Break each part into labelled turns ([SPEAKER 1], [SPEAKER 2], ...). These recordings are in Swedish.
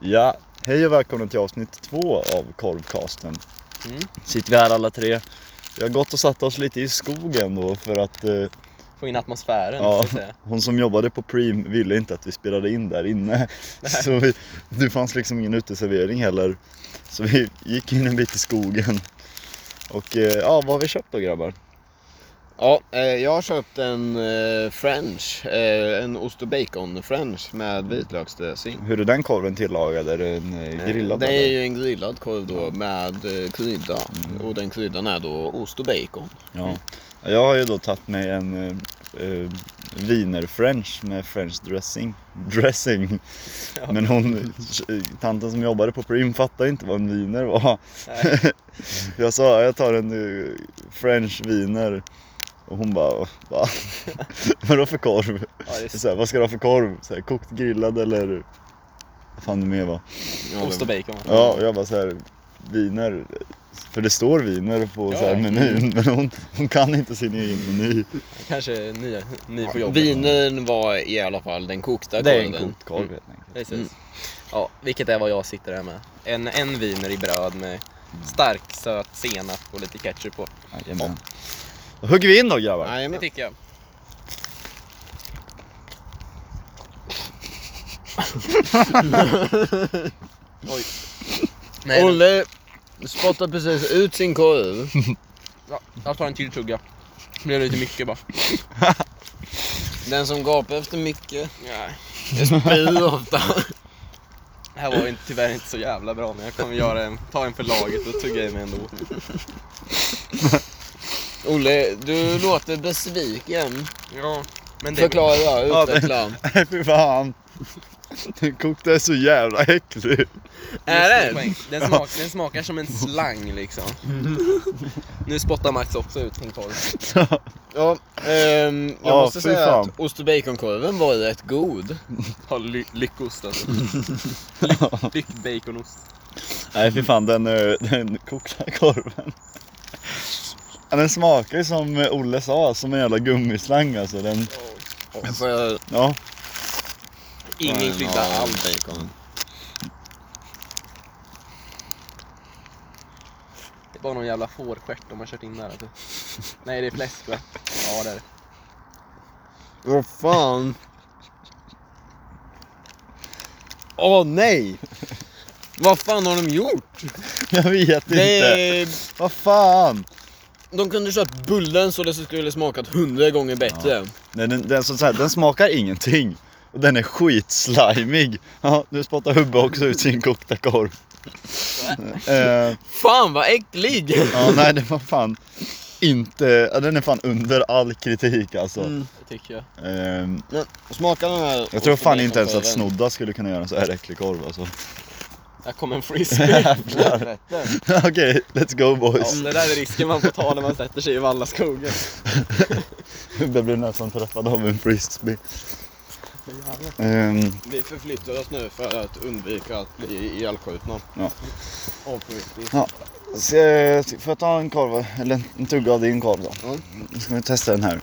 [SPEAKER 1] Ja, hej och välkomna till avsnitt två av Korvcasten.
[SPEAKER 2] Mm.
[SPEAKER 1] Sitter vi här alla tre. Vi har gått och satt oss lite i skogen då för att eh,
[SPEAKER 2] Få in atmosfären
[SPEAKER 1] Ja.
[SPEAKER 2] så att säga.
[SPEAKER 1] hon som jobbade på Preem ville inte att vi spelade in där inne. Så vi, det fanns liksom ingen uteservering heller. Så vi gick in en bit i skogen. Och eh, ja, vad har vi köpt då grabbar?
[SPEAKER 3] Ja, eh, jag har köpt en eh, french, eh, en ost och bacon french med vitlöksdressing.
[SPEAKER 1] Hur är den korven tillagad? Är den eh, grillad?
[SPEAKER 3] Det är
[SPEAKER 1] eller? Mm.
[SPEAKER 3] ju en grillad korv då med eh, krydda och den kryddan är då ost och bacon.
[SPEAKER 1] Ja. Mm. Jag har ju då tagit mig en eh, eh, wiener french med french dressing. dressing.
[SPEAKER 2] Ja.
[SPEAKER 1] Men hon, tanten som jobbade på Prim fattade inte vad en wiener var.
[SPEAKER 2] Nej.
[SPEAKER 1] Jag sa jag tar en eh, french wiener och hon bara va? Vadå för korv?
[SPEAKER 2] Ja, det är
[SPEAKER 1] Så här, vad ska du ha för korv? Så här, kokt, grillad eller vad fan det mer var?
[SPEAKER 2] ost och bacon.
[SPEAKER 1] Ja, och jag bara så här, viner. För det står viner på
[SPEAKER 2] Ja,
[SPEAKER 1] så här
[SPEAKER 2] ja.
[SPEAKER 1] menyn, men hon, hon kan inte sin egen meny.
[SPEAKER 2] Kanske ny, ny på
[SPEAKER 3] Ja,
[SPEAKER 2] jobbet.
[SPEAKER 3] Vinen var i alla fall den kokta
[SPEAKER 1] Det är en
[SPEAKER 3] korven.
[SPEAKER 1] kokt korv helt enkelt.
[SPEAKER 2] Precis. Ja, vilket är vad jag sitter här med. En, en viner i bröd med stark söt senap och lite ketchup på.
[SPEAKER 1] Jajamän. Då hugger vi in då grabbar.
[SPEAKER 2] Det
[SPEAKER 3] Jajamän.
[SPEAKER 2] tycker jag. Oj. Nej, men,
[SPEAKER 3] Olle spottade precis ut sin korv.
[SPEAKER 2] ja, jag tar en till tugga. Blev lite mycket bara.
[SPEAKER 3] Den som gapar efter mycket
[SPEAKER 2] Nej.
[SPEAKER 3] spyr ofta.
[SPEAKER 2] Det här var ju inte- tyvärr inte så jävla bra men jag kommer göra en, ta en för laget och tugga i mig ändå.
[SPEAKER 3] Olle, du låter besviken.
[SPEAKER 2] Ja, men det
[SPEAKER 3] Förklara,
[SPEAKER 1] Ja, det-
[SPEAKER 3] utveckla.
[SPEAKER 1] Nej fy fan. Den kokta är så jävla äcklig.
[SPEAKER 2] är
[SPEAKER 3] Är
[SPEAKER 2] det?
[SPEAKER 3] det?
[SPEAKER 2] Den, smak, den smakar som en slang liksom. Nu spottar Max också ut sin korv.
[SPEAKER 3] Ja, ehm, jag
[SPEAKER 1] Ja,
[SPEAKER 3] måste
[SPEAKER 1] fy
[SPEAKER 3] säga
[SPEAKER 1] fan.
[SPEAKER 3] att ost och baconkorven var rätt god.
[SPEAKER 2] Ja, ly- lyckost alltså. Lyck baconost.
[SPEAKER 1] Nej fy fan den, eh, den kokta korven. Ja, Den smakar ju som eh, Olle sa, som en jävla gummislang alltså. Den,
[SPEAKER 3] Får jag
[SPEAKER 1] ja.
[SPEAKER 2] Ingen krydda alls.
[SPEAKER 3] bacon.
[SPEAKER 2] Det är bara någon jävla fårstjärt de har kört in där alltså. Nej det är fläskstjärt. Ja det är det.
[SPEAKER 3] Vad fan? Åh nej! Vad fan har de gjort?
[SPEAKER 1] Jag vet inte.
[SPEAKER 3] Det,
[SPEAKER 1] Vad fan.
[SPEAKER 3] de kunde köpt bullen så det skulle smakat hundra gånger bättre.
[SPEAKER 1] Nej, den, den, så så här, den smakar ingenting. Och den är skitslimig. Ja, nu spottar Hubbe också ut sin kokta korv. Eh,
[SPEAKER 3] Fan vad äcklig!
[SPEAKER 1] ja, nej, den var fan inte... Ja, den är fan under all kritik alltså.
[SPEAKER 3] Mm.
[SPEAKER 2] Det tycker jag.
[SPEAKER 1] Ehm,
[SPEAKER 3] Smaka den här
[SPEAKER 1] jag tror
[SPEAKER 3] ost och
[SPEAKER 1] fan inte ens att
[SPEAKER 3] baconkorven.
[SPEAKER 1] Snodda skulle kunna göra en så här äcklig korv alltså.
[SPEAKER 2] Där kom en frisbee.
[SPEAKER 1] Okej, let's go
[SPEAKER 2] Ja,
[SPEAKER 1] boys.
[SPEAKER 2] det där är risken man får ta när man sätter sig i Vallaskogen.
[SPEAKER 1] Hubbe blev nästan träffad av en frisbee. Ehm,
[SPEAKER 3] Vi förflyttar oss nu för att undvika att bli ihjälskjutna.
[SPEAKER 1] Ja.
[SPEAKER 3] Och på riktigt.
[SPEAKER 1] så, eh, får jag ta en korv, eller en tugga av din korv då?
[SPEAKER 3] Ja.
[SPEAKER 1] Nu ska vi testa den här.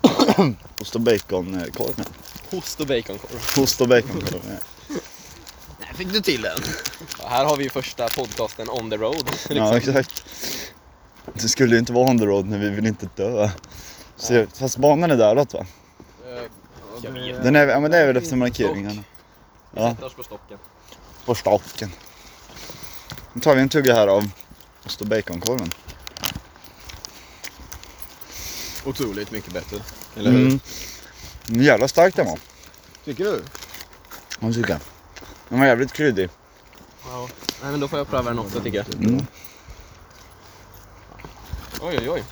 [SPEAKER 1] Ost och bacon-korven.
[SPEAKER 2] Ost och baconkorv.
[SPEAKER 1] Ost och baconkorv. ja.
[SPEAKER 3] Där fick du till den.
[SPEAKER 2] Ja, Här har vi ju första podcasten on the road.
[SPEAKER 1] Ja, exakt. Det skulle ju inte vara on the road när vi vill inte dö. Så, fast banan är däråt va?
[SPEAKER 2] Jag vet.
[SPEAKER 1] Den är, ja, men det är väl efter markeringarna.
[SPEAKER 2] Vi
[SPEAKER 1] Ja.
[SPEAKER 2] sätter oss på stocken.
[SPEAKER 1] På staken. Nu tar vi en tugga här av ost och baconkorven.
[SPEAKER 3] Otroligt mycket bättre. Eller hur?
[SPEAKER 1] Mm. Men Jävla stark den var.
[SPEAKER 3] Tycker du?
[SPEAKER 1] Den tycker jag. Den var jävligt kryddig.
[SPEAKER 2] Ja. Nej men då får jag pröva den också tycker jag.
[SPEAKER 1] Mm.
[SPEAKER 2] Oj oj oj.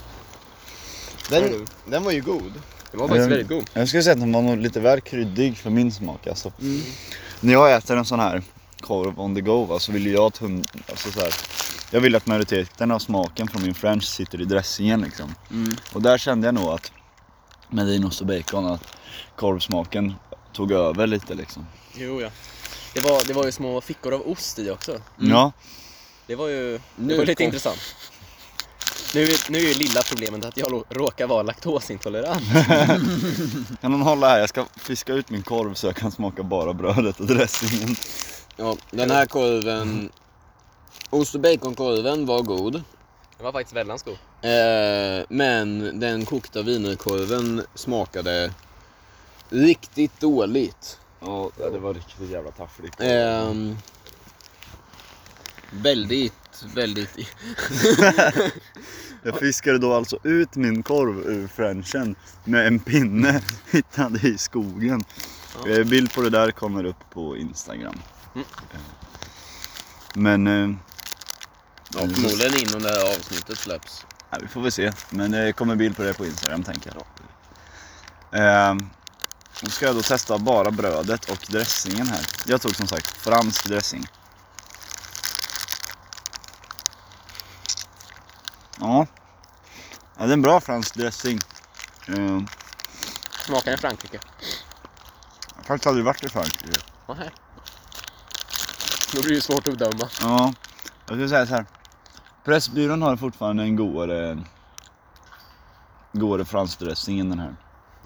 [SPEAKER 3] Den, den var ju god.
[SPEAKER 2] Det var faktiskt
[SPEAKER 1] Mm.
[SPEAKER 2] väldigt god.
[SPEAKER 1] Jag skulle säga att den var nog lite väl kryddig för min smak alltså. När jag äter en sån här korv on the go va, så vill ju jag att hund, alltså så här, Jag vill att majoriteten av smaken från min french sitter i dressingen liksom. Och där kände jag nog att med din ost och bacon att korvsmaken tog över lite liksom.
[SPEAKER 2] Jo ja. Det var, det var ju små fickor av ost i också.
[SPEAKER 1] Ja,
[SPEAKER 2] Det var ju det
[SPEAKER 3] Nu
[SPEAKER 2] var lite
[SPEAKER 3] kom-
[SPEAKER 2] intressant. Nu, är- nu är ju lilla problemet att jag lo- råkar vara laktosintolerant.
[SPEAKER 1] kan någon hålla här? Jag ska fiska ut min korv så jag kan smaka bara brödet och dressingen.
[SPEAKER 3] Ja, den här korven... Ost och baconkorven var god.
[SPEAKER 2] Den var faktiskt väldans god.
[SPEAKER 3] Eh, men den kokta wienerkorven smakade riktigt dåligt.
[SPEAKER 1] Ja, det var riktigt jävla taffligt.
[SPEAKER 3] Ehm, väldigt, väldigt...
[SPEAKER 1] Jag fiskade då alltså ut min korv ur frenchen med en pinne hittade i skogen.
[SPEAKER 2] Ja.
[SPEAKER 1] Eh, Bild på det där kommer upp på Instagram.
[SPEAKER 2] Mm.
[SPEAKER 1] Eh, Men eh,
[SPEAKER 3] Ja, förmodligen innan det här avsnittet släpps.
[SPEAKER 1] ja, vi får väl se. Men det kommer bild på det på Instagram tänker jag. Eh, Nu ska jag då testa bara brödet och dressingen här. Jag tog som sagt fransk dressing. Ja, ja det är en bra fransk dressing. Eh,
[SPEAKER 2] Smakar den Frankrike?
[SPEAKER 1] Jag har faktiskt aldrig varit i Frankrike.
[SPEAKER 2] Nej. Då blir det svårt att bedöma.
[SPEAKER 1] Ja, jag skulle säga så här. Pressbyrån har fortfarande en godare, godare fransk dressing än den här.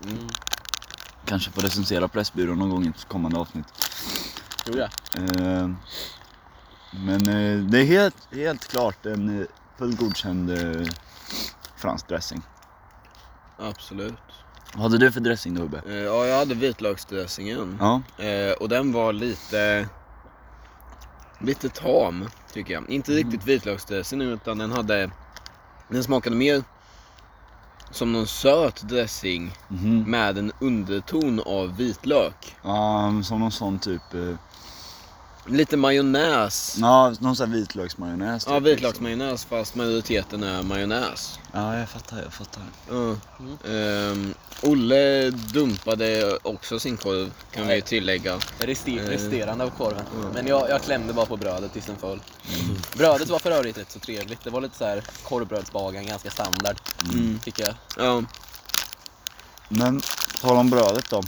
[SPEAKER 2] Mm.
[SPEAKER 1] Kanske får recensera Pressbyrån någon gång i ett kommande avsnitt.
[SPEAKER 2] Jo ja.
[SPEAKER 1] Eh, men eh, det är helt, helt klart en eh, fullt godkänd eh, fransk dressing.
[SPEAKER 3] Absolut.
[SPEAKER 1] Vad hade du för dressing då Hubbe?
[SPEAKER 3] Eh, ja, jag hade vitlöksdressingen.
[SPEAKER 1] Ja,
[SPEAKER 3] Eh, och den var lite... Lite tam, tycker jag. Inte riktigt vitlöksdressing utan den hade... Den smakade mer som någon söt dressing
[SPEAKER 1] mhm.
[SPEAKER 3] med en underton av vitlök.
[SPEAKER 1] Ja, som någon sån typ, eh,
[SPEAKER 3] Lite majonnäs.
[SPEAKER 1] ja, någon sån här vitlöksmajonnäs. typ,
[SPEAKER 3] Ja, vitlöksmajonnäs fast majoriteten är majonnäs.
[SPEAKER 1] liksom. Ja, jag fattar, jag fattar.
[SPEAKER 3] Ja.
[SPEAKER 2] Mm.
[SPEAKER 3] Ehm, Olle dumpade också sin korv, kan vi
[SPEAKER 2] Nej.
[SPEAKER 3] tillägga.
[SPEAKER 2] Rester,
[SPEAKER 3] Eh.
[SPEAKER 2] resterande av korven.
[SPEAKER 3] Mm.
[SPEAKER 2] Men jag, jag klämde bara på brödet tills den föll. Brödet var för övrigt rätt så trevligt. Det var lite så här korvbrödsbagan, ganska standard
[SPEAKER 3] Mm.
[SPEAKER 2] tycker jag.
[SPEAKER 3] Ja.
[SPEAKER 1] Men på tal om brödet då.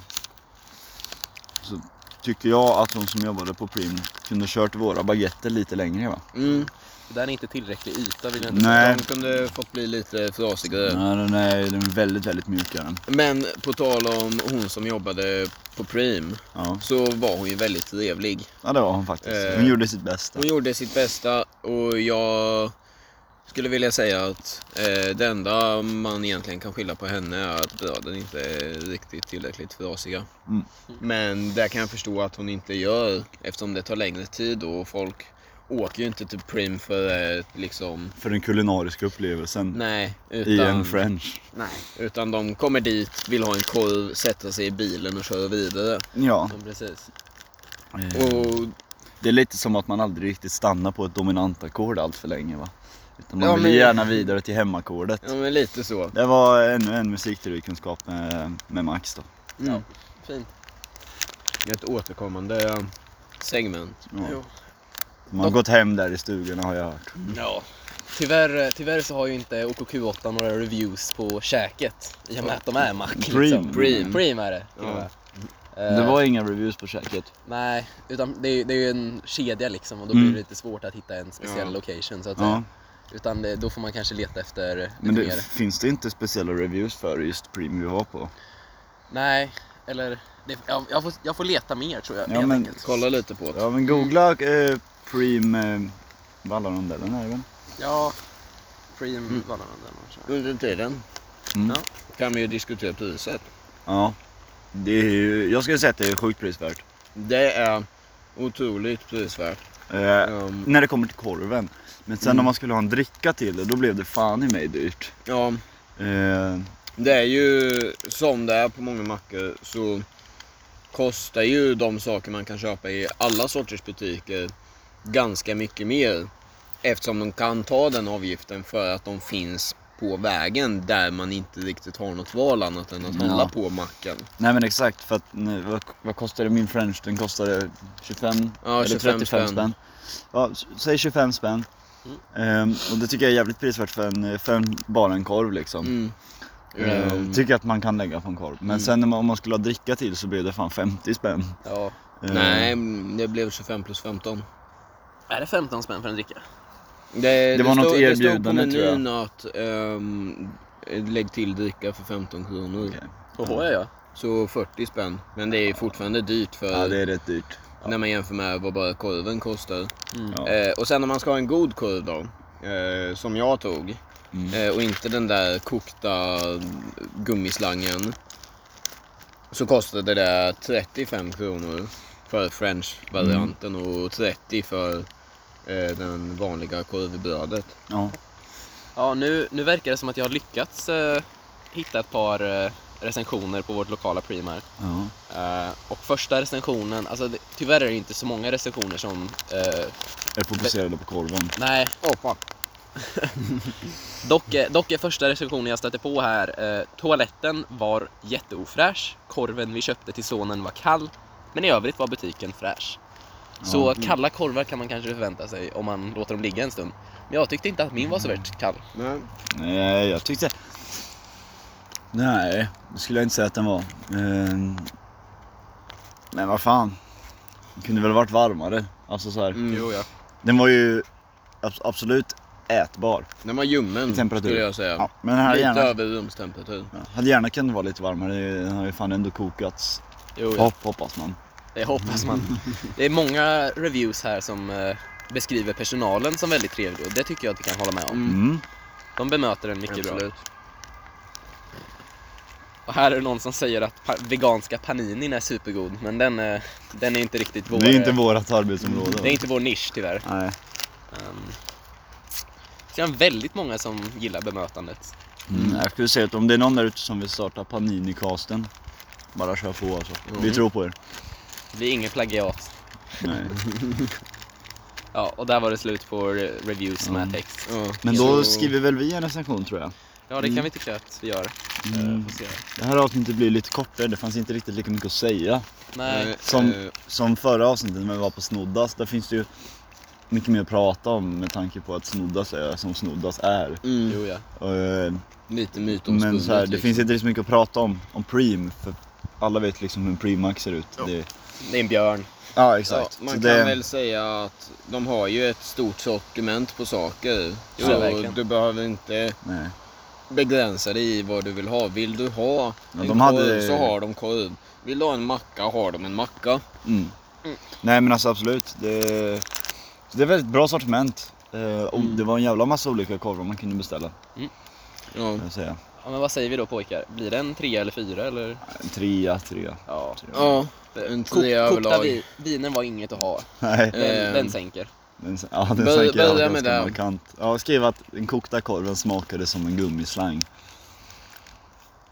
[SPEAKER 1] Så tycker jag att de som jobbade på Prim kunde kört våra baguetter lite längre va?
[SPEAKER 3] Mm.
[SPEAKER 2] Det där är inte tillräcklig yta vill jag inte
[SPEAKER 1] Nej,
[SPEAKER 3] De kunde fått bli lite frasigare.
[SPEAKER 1] nej den är, den är väldigt, väldigt mjukare.
[SPEAKER 3] Men på tal om hon som jobbade på Prim
[SPEAKER 1] Ja.
[SPEAKER 3] så var hon ju väldigt trevlig.
[SPEAKER 1] ja, det var hon faktiskt. Hon
[SPEAKER 3] Eh,
[SPEAKER 1] gjorde sitt bästa.
[SPEAKER 3] Hon gjorde sitt bästa och jag skulle vilja säga att eh, det enda man egentligen kan skylla på henne är att bröden inte är riktigt tillräckligt frasiga.
[SPEAKER 1] Mm.
[SPEAKER 3] Men där kan jag förstå att hon inte gör eftersom det tar längre tid då och folk åker ju inte till Prim för eh, liksom,
[SPEAKER 1] För den kulinariska upplevelsen
[SPEAKER 3] nej. Utan,
[SPEAKER 1] i en french.
[SPEAKER 3] Nej. Utan de kommer dit, vill ha en korv, sätter sig i bilen och kör vidare.
[SPEAKER 1] Ja.
[SPEAKER 2] Men precis.
[SPEAKER 1] eh,
[SPEAKER 3] Och
[SPEAKER 1] Det är lite som att man aldrig riktigt stannar på ett dominantackord allt för länge va? Utan man
[SPEAKER 3] Ja,
[SPEAKER 1] vill
[SPEAKER 3] men-
[SPEAKER 1] gärna vidare till hemmaackordet.
[SPEAKER 3] ja, men lite så.
[SPEAKER 1] Det var ännu en musikteorikunskap med, med Max då.
[SPEAKER 3] Mm.
[SPEAKER 2] Fint.
[SPEAKER 3] Ett återkommande segment.
[SPEAKER 1] Ja.
[SPEAKER 2] Jo.
[SPEAKER 1] Man har gått hem där i stugorna har jag hört.
[SPEAKER 2] Ja. Tyvärr, eh, tyvärr så har ju inte OKQ8 några reviews på käket i och med att de är mack.
[SPEAKER 1] Preem.
[SPEAKER 3] Preem.
[SPEAKER 2] Preem är det till
[SPEAKER 3] Ja.
[SPEAKER 2] och med.
[SPEAKER 1] Det
[SPEAKER 2] Eh,
[SPEAKER 1] var inga reviews på käket.
[SPEAKER 2] Nej, utan det är, det är ju en kedja liksom och då
[SPEAKER 1] Mm.
[SPEAKER 2] blir det lite svårt att hitta en speciell
[SPEAKER 3] Ja.
[SPEAKER 2] location så att
[SPEAKER 1] Ja,
[SPEAKER 2] säga. Utan det, då får man kanske leta efter lite
[SPEAKER 1] men
[SPEAKER 2] mer.
[SPEAKER 1] det, finns det inte speciella reviews för just Preem vi var på?
[SPEAKER 2] Nej, eller det, jag, jag, får, jag får leta mer tror jag.
[SPEAKER 1] Ja,
[SPEAKER 2] helt
[SPEAKER 1] men-
[SPEAKER 2] enkelt.
[SPEAKER 3] Kolla lite på det.
[SPEAKER 1] Ja men googla eh, Preem, eh, Vallarondellen är det väl?
[SPEAKER 2] ja Preem
[SPEAKER 3] Mm.
[SPEAKER 2] var någon av dem, tror jag.
[SPEAKER 3] Under tiden
[SPEAKER 1] Mm.
[SPEAKER 2] Ja.
[SPEAKER 3] kan vi ju diskutera priset.
[SPEAKER 1] Ja. Det är ju, jag skulle säga att det är sjukt prisvärt.
[SPEAKER 3] Det är otroligt prisvärt.
[SPEAKER 1] Eh,
[SPEAKER 3] Ehm,
[SPEAKER 1] När det kommer till korven. Men sen
[SPEAKER 3] Mm.
[SPEAKER 1] om man skulle ha en dricka till det, då blev det fan i mig dyrt.
[SPEAKER 3] ja,
[SPEAKER 1] Eh,
[SPEAKER 3] det är ju som det är på många mackar så kostar ju de saker man kan köpa i alla sorters butiker ganska mycket mer. Eftersom de kan ta den avgiften för att de finns på vägen där man inte riktigt har något val annat än att
[SPEAKER 1] Ja.
[SPEAKER 3] handla på macken.
[SPEAKER 1] nej men exakt, för att, nu, vad, vad kostade min french? Den kostade 25
[SPEAKER 3] Ja,
[SPEAKER 1] Eller
[SPEAKER 3] 25
[SPEAKER 1] 35 spänn.
[SPEAKER 3] spänn.
[SPEAKER 1] Ja, s- säg 25 spänn.
[SPEAKER 2] Mm.
[SPEAKER 1] Ehm, och det tycker jag är jävligt prisvärt för, en, för en, bara en korv liksom.
[SPEAKER 3] Mm.
[SPEAKER 1] Ehm,
[SPEAKER 3] Ehm,
[SPEAKER 1] tycker jag att man kan lägga på en korv. Men
[SPEAKER 3] Mm.
[SPEAKER 1] sen när man- om man skulle ha dricka till så blir det fan 50 spänn.
[SPEAKER 2] Ja.
[SPEAKER 1] Ehm,
[SPEAKER 3] Nej, det blev 25 plus 15.
[SPEAKER 2] Är det 15 spänn för en dricka?
[SPEAKER 3] Det,
[SPEAKER 1] var något
[SPEAKER 3] stod,
[SPEAKER 1] erbjudande,
[SPEAKER 3] det
[SPEAKER 1] tror jag.
[SPEAKER 3] stod på menyn att ehm, lägg till dricka för 15 kronor.
[SPEAKER 1] okej.
[SPEAKER 2] Oho, ja. ja.
[SPEAKER 3] Så 40 spänn. Men det är fortfarande dyrt för...
[SPEAKER 1] Ja, det är rätt dyrt.
[SPEAKER 3] När man jämför med vad bara korven kostar.
[SPEAKER 1] Ja.
[SPEAKER 3] Eh, och sen om man ska ha en god korv då, eh, som jag tog,
[SPEAKER 1] Mm.
[SPEAKER 3] eh, och inte den där kokta gummislangen, så kostade det 35 kronor för french-varianten
[SPEAKER 1] Mm.
[SPEAKER 3] och 30 för eh, den vanliga korvbrödet.
[SPEAKER 1] Ja.
[SPEAKER 2] Ja, nu, nu verkar det som att jag har lyckats eh, hitta ett par eh, recensioner på vårt lokala Primark.
[SPEAKER 1] ja.
[SPEAKER 2] Eh, och första recensionen, alltså det, tyvärr är det inte så många recensioner som... eh,
[SPEAKER 1] Är fokuserade på korven.
[SPEAKER 2] nej,
[SPEAKER 3] Åh fan.
[SPEAKER 2] dock, är- dock är första recensionen jag stötte på här, eh, toaletten var jätteofräsch, korven vi köpte till sonen var kall, men i övrigt var butiken fräsch. Så
[SPEAKER 1] Ja.
[SPEAKER 2] kalla korvar kan man kanske förvänta sig om man låter dem ligga en stund. Men jag tyckte inte att min var så värst kall.
[SPEAKER 3] Nej.
[SPEAKER 1] Nej, jag tyckte... Nej, det skulle jag inte säga att den var. Ehm, Men vad fan. Den kunde väl varit varmare. Alltså så här.
[SPEAKER 3] Mm. Jo,
[SPEAKER 2] ja.
[SPEAKER 1] Den var ju abs- absolut ätbar.
[SPEAKER 3] Den var ljummen
[SPEAKER 1] Temperatur.
[SPEAKER 3] skulle jag säga.
[SPEAKER 1] Ja, men den hade
[SPEAKER 3] Lite
[SPEAKER 1] gärna,
[SPEAKER 3] över rumstemperatur.
[SPEAKER 1] ja, hade gärna kunnat vara lite varmare. Den har ju fan ändå kokats.
[SPEAKER 2] Jo, ja.
[SPEAKER 1] Hopp, hoppas man.
[SPEAKER 2] Det hoppas man. Det är många reviews här som eh, beskriver personalen som väldigt trevlig och det tycker jag att vi kan hålla med om.
[SPEAKER 3] Mm.
[SPEAKER 1] Mm.
[SPEAKER 2] De bemöter den mycket bra.
[SPEAKER 3] Absolut.
[SPEAKER 2] Och här är det någon som säger att pa- veganska paninin är supergod, men den, eh, den är inte riktigt vår... eh,
[SPEAKER 1] Det är inte vårat arbetsområde.
[SPEAKER 2] det är inte vår nisch tyvärr.
[SPEAKER 1] Nej.
[SPEAKER 2] Um, så jag har väldigt många som gillar bemötandet.
[SPEAKER 1] Mm. Jag skulle säga att om det är någon där ute som vill starta Panini-casten. Bara kör på alltså. Vi
[SPEAKER 3] Mm.
[SPEAKER 1] tror på er.
[SPEAKER 2] Det blir inget plagiat.
[SPEAKER 1] Nej.
[SPEAKER 2] Ja, och där var det slut på re- reviews med
[SPEAKER 1] Mm.
[SPEAKER 2] text.
[SPEAKER 3] Ja.
[SPEAKER 1] Men då
[SPEAKER 3] Så-
[SPEAKER 1] skriver väl vi en recension tror jag.
[SPEAKER 2] Ja, det kan vi tycka att vi gör. Eh,
[SPEAKER 1] Mm.
[SPEAKER 2] får se.
[SPEAKER 1] Det här avsnittet blir lite kortare, det fanns inte riktigt lika mycket att säga.
[SPEAKER 2] Nej,
[SPEAKER 3] Eh,
[SPEAKER 1] Som-
[SPEAKER 3] eh,
[SPEAKER 1] Som förra avsnittet när vi var på Snoddas, där finns det ju mycket mer att prata om med tanke på att Snoddas är som Snoddas är.
[SPEAKER 3] mm.
[SPEAKER 2] jo ja.
[SPEAKER 1] Eh,
[SPEAKER 3] Lite mytomspunnet.
[SPEAKER 1] Men så här, det
[SPEAKER 3] liksom.
[SPEAKER 1] finns inte så mycket att prata om, om Preem, för alla vet liksom hur en Preemax ser ut.
[SPEAKER 3] Ja.
[SPEAKER 1] Det,
[SPEAKER 2] Det är en björn.
[SPEAKER 1] ja, exakt.
[SPEAKER 3] Ja, man
[SPEAKER 1] Så
[SPEAKER 3] kan
[SPEAKER 1] det,
[SPEAKER 3] väl säga att de har ju ett stort sortiment på saker.
[SPEAKER 2] Jo,
[SPEAKER 3] så
[SPEAKER 2] ja, verkligen.
[SPEAKER 3] du behöver inte
[SPEAKER 1] nej.
[SPEAKER 3] begränsa dig i vad du vill ha. Vill du ha
[SPEAKER 1] Ja,
[SPEAKER 3] en
[SPEAKER 1] de
[SPEAKER 3] korv
[SPEAKER 1] hade-
[SPEAKER 3] så har de korv. Vill du ha en macka har de en macka.
[SPEAKER 1] Mm.
[SPEAKER 2] Mm.
[SPEAKER 1] Nej men alltså absolut, det, så det är väldigt bra sortiment. Eh, och
[SPEAKER 3] Mm.
[SPEAKER 1] Det var en jävla massa olika korvar man kunde beställa.
[SPEAKER 3] Ja.
[SPEAKER 1] kan Jag säga.
[SPEAKER 2] Ja, men vad säger vi då pojkar? Blir det en trea eller fyra eller? Typ.
[SPEAKER 1] Trea, trea.
[SPEAKER 2] Ja.
[SPEAKER 1] trea.
[SPEAKER 3] ja, en
[SPEAKER 2] Kok,
[SPEAKER 3] trea
[SPEAKER 2] kokta
[SPEAKER 3] överlag.
[SPEAKER 2] vi, vinen var inget att ha. Ehm.
[SPEAKER 1] Nej.
[SPEAKER 2] Den,
[SPEAKER 3] Eh.
[SPEAKER 2] den sänker.
[SPEAKER 1] Den, ja, den
[SPEAKER 3] Bör-
[SPEAKER 1] sänker jag
[SPEAKER 3] börja med
[SPEAKER 1] ganska
[SPEAKER 3] den.
[SPEAKER 1] markant. Ja, skriv att den kokta korven smakade som en gummislang.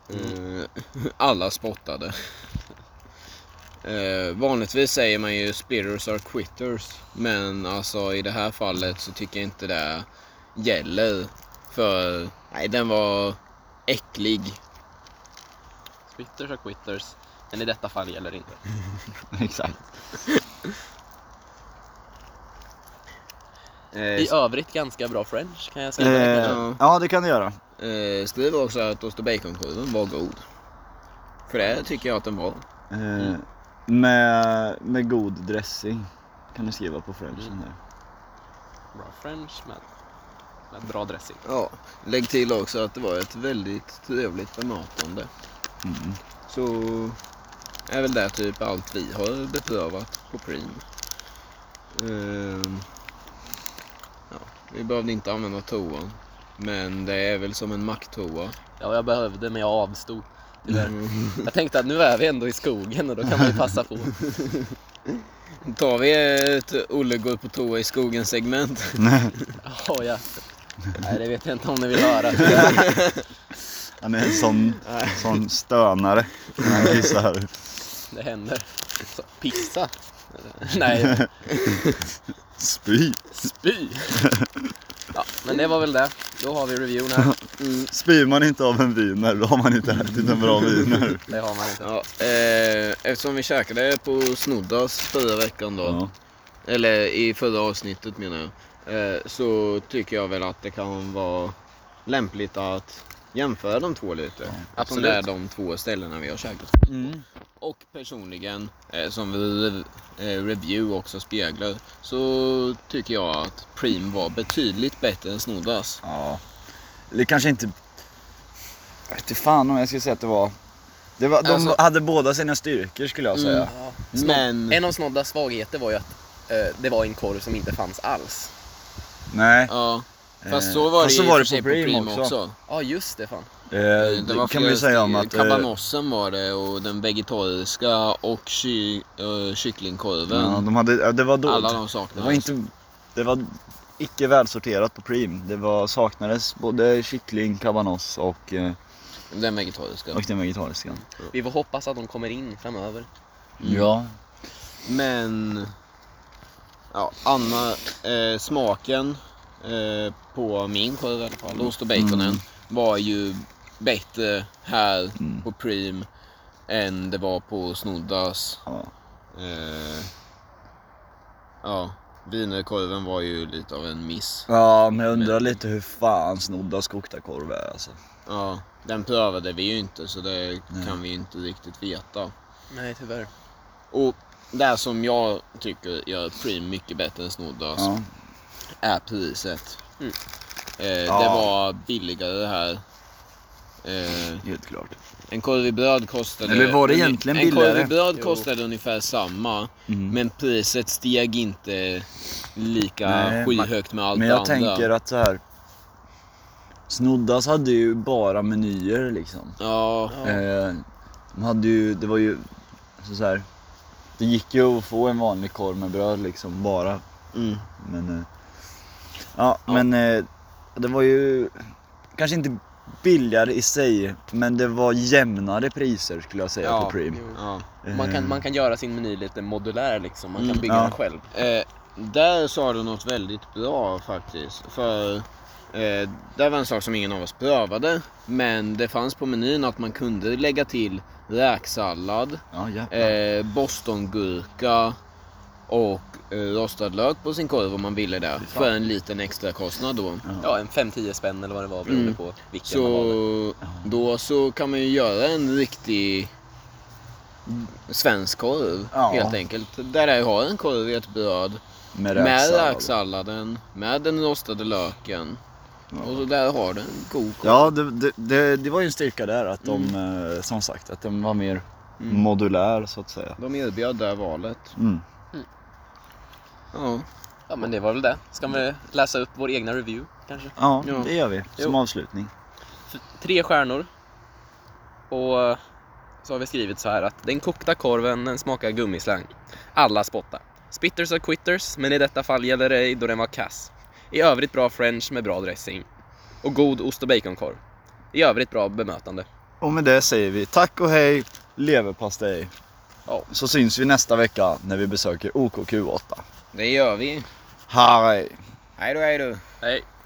[SPEAKER 3] Eh, Alla spottade. Eh, vanligtvis säger man ju spitters are quitters. Men alltså i det här fallet så tycker jag inte det gäller. För nej, den var äcklig.
[SPEAKER 2] Quitters och quitters. Men i detta fall gäller det inte.
[SPEAKER 1] Exakt.
[SPEAKER 2] I
[SPEAKER 3] Eh,
[SPEAKER 2] övrigt ganska bra french kan jag säga.
[SPEAKER 1] Eh, ja, det kan du göra.
[SPEAKER 3] eh, skriv också att ost och baconkorven var god. För det tycker jag att den var.
[SPEAKER 1] Eh,
[SPEAKER 3] Mm.
[SPEAKER 1] med, med god dressing. Kan du skriva på
[SPEAKER 3] Mm.
[SPEAKER 1] frenchen där.
[SPEAKER 2] Bra french med, med bra dressing.
[SPEAKER 3] Ja, lägg till också att det var ett väldigt trevligt bemötande.
[SPEAKER 1] Mm.
[SPEAKER 3] Så är väl det typ allt vi har beprövat på Preem. Ehm, ja, vi behövde inte använda toan. Men det är väl som en macktoa.
[SPEAKER 2] Ja, jag behövde men jag avstod. Tyvärr. Jag tänkte att nu är vi ändå i skogen och då kan man ju passa på.
[SPEAKER 3] Tar vi ett Olle går på toa i skogen segment.
[SPEAKER 2] Oh, ja. Nej, det vet jag inte om ni vill höra.
[SPEAKER 1] Han är en sån, sån stönare när han kissar.
[SPEAKER 2] Det händer. Så, pissa? Nej,
[SPEAKER 1] Spy.
[SPEAKER 2] spy! Ja, men det var väl det. Då har vi reviewn här.
[SPEAKER 1] Spyr man inte av en wiener, då har man inte ätit en bra wiener.
[SPEAKER 2] Det har man inte.
[SPEAKER 3] Ja, eh, eftersom vi käkade på Snoddas förra veckan då.
[SPEAKER 1] Ja.
[SPEAKER 3] Eller i förra avsnittet menar jag. Eh, så tycker jag väl att det kan vara lämpligt att jämföra de två lite. Eftersom det är
[SPEAKER 2] absolut.
[SPEAKER 3] de två ställena vi har käkat.
[SPEAKER 1] Mm.
[SPEAKER 3] Och personligen, eh, som vi- eh, review också speglar, så tycker jag att Preem var betydligt bättre än Snoddas.
[SPEAKER 1] Ja. Eller kanske inte... Jag vet inte fan om jag skulle säga att det var... Det var de
[SPEAKER 3] Alltså- Mm.
[SPEAKER 1] hade båda sina styrkor skulle jag säga.
[SPEAKER 2] Ja,
[SPEAKER 3] Men...
[SPEAKER 2] En av Snoddas svagheter var ju att eh, det var en korv som inte fanns alls.
[SPEAKER 1] Nej.
[SPEAKER 3] Ja.
[SPEAKER 1] Eh,
[SPEAKER 3] Fast så var det,
[SPEAKER 1] fast
[SPEAKER 3] i och för sig på Primo, också.
[SPEAKER 2] Ja, just det fan.
[SPEAKER 1] Eh,
[SPEAKER 3] Eh,
[SPEAKER 1] det
[SPEAKER 3] var
[SPEAKER 1] kan vi
[SPEAKER 3] flera
[SPEAKER 1] säga om
[SPEAKER 3] stycken.
[SPEAKER 1] att... eh,
[SPEAKER 3] Kabanossen var det och den vegetariska och ky, eh, kycklingkorven.
[SPEAKER 1] ja, de hade, ja, det var
[SPEAKER 3] Alla
[SPEAKER 1] dåligt.
[SPEAKER 3] de
[SPEAKER 1] Det
[SPEAKER 3] saknades.
[SPEAKER 1] var inte... Det var icke välsorterat på Preem. Det var, saknades både kyckling, kabanoss och, eh,
[SPEAKER 3] Den vegetariska.
[SPEAKER 1] och den vegetariska. Mm.
[SPEAKER 2] Vi får hoppas att de kommer in framöver.
[SPEAKER 1] Ja.
[SPEAKER 3] Men... Ja, Anna, eh, smaken eh, på min korv i alla fall, ost och baconen,
[SPEAKER 1] Mm.
[SPEAKER 3] var ju bättre här
[SPEAKER 1] Mm.
[SPEAKER 3] på Preem än det var på Snoddas.
[SPEAKER 1] ja.
[SPEAKER 3] Eh, ja, wienerkorven var ju lite av en miss.
[SPEAKER 1] Ja, men jag undrar lite hur fan Snoddas kokta korv är alltså.
[SPEAKER 3] Ja, den prövade vi ju inte så det
[SPEAKER 1] Mm.
[SPEAKER 3] kan vi ju inte riktigt veta.
[SPEAKER 2] Nej, tyvärr.
[SPEAKER 3] Och det som jag tycker gör Preem mycket bättre än Snoddas
[SPEAKER 1] Ja.
[SPEAKER 3] är priset.
[SPEAKER 2] Mm.
[SPEAKER 3] Eh, Det
[SPEAKER 1] Ja.
[SPEAKER 3] var billigare här. Eh,
[SPEAKER 1] Helt klart.
[SPEAKER 3] en korv i bröd kostade...
[SPEAKER 1] Eller var det
[SPEAKER 3] en-
[SPEAKER 1] egentligen
[SPEAKER 3] En korv
[SPEAKER 1] billigare?
[SPEAKER 3] i bröd
[SPEAKER 2] Jo.
[SPEAKER 3] kostade ungefär samma,
[SPEAKER 1] Mm.
[SPEAKER 3] men priset steg inte lika
[SPEAKER 1] Nej,
[SPEAKER 3] skyhögt med allt
[SPEAKER 1] Men jag
[SPEAKER 3] det andra.
[SPEAKER 1] tänker att så här. Snoddas hade ju bara menyer liksom.
[SPEAKER 3] Ja,
[SPEAKER 2] Ja.
[SPEAKER 1] Eh, de hade ju, det var ju alltså så här. Det gick ju att få en vanlig korv med bröd liksom bara.
[SPEAKER 3] mm.
[SPEAKER 1] Men, eh, ja, men eh, det var ju kanske inte billigare i sig, men det var jämnare priser skulle jag säga
[SPEAKER 3] Ja,
[SPEAKER 1] på Preem.
[SPEAKER 2] Jo.
[SPEAKER 3] ja.
[SPEAKER 2] Man kan, man kan göra sin meny lite modulär liksom, man kan
[SPEAKER 3] Mm,
[SPEAKER 2] bygga
[SPEAKER 1] ja.
[SPEAKER 2] den själv.
[SPEAKER 3] Eh, där sa du något väldigt bra faktiskt. För eh, det var en sak som ingen av oss prövade. Men det fanns på menyn att man kunde lägga till räksallad,
[SPEAKER 1] Ja, jävlar.
[SPEAKER 3] eh, bostongurka och eh, rostad lök på sin korv om man ville det.
[SPEAKER 2] fan.
[SPEAKER 3] För en liten extra kostnad då.
[SPEAKER 2] Ja, en 5-10 spänn eller vad det var beroende
[SPEAKER 3] Mm.
[SPEAKER 2] på vilken man valde.
[SPEAKER 3] Så då så kan man ju göra en riktig svensk korv
[SPEAKER 1] Ja.
[SPEAKER 3] helt enkelt. Där jag har en korv i ett bröd.
[SPEAKER 1] Med
[SPEAKER 3] Med
[SPEAKER 1] räksallad.
[SPEAKER 3] räksalladen, med den rostade löken.
[SPEAKER 1] Ja.
[SPEAKER 3] Och så där har du en god korv.
[SPEAKER 1] Ja, det, det, det, det var ju en styrka där att de, eh, som sagt, att den var mer modulär så att säga.
[SPEAKER 3] De erbjöd det här valet.
[SPEAKER 1] Mm.
[SPEAKER 3] Ja.
[SPEAKER 2] Ja, men det var väl det. Ska vi läsa upp vår egna review kanske?
[SPEAKER 1] Ja,
[SPEAKER 3] Ja.
[SPEAKER 1] det gör vi. Som avslutning.
[SPEAKER 2] F- Tre stjärnor. Och eh, så har vi skrivit så här att den kokta korven den smakar gummislang. Alla spottar. Spitters och quitters, men i detta fall gäller det då den var kass. I övrigt bra french med bra dressing. Och god ost och baconkorv. I övrigt bra bemötande.
[SPEAKER 1] Och med det säger vi tack och hej, leverpastej.
[SPEAKER 2] Ja.
[SPEAKER 1] Så syns vi nästa vecka när vi besöker OKQ8.
[SPEAKER 3] Det gör vi.
[SPEAKER 1] Hej!
[SPEAKER 3] Hej då, hej då.
[SPEAKER 2] Hej!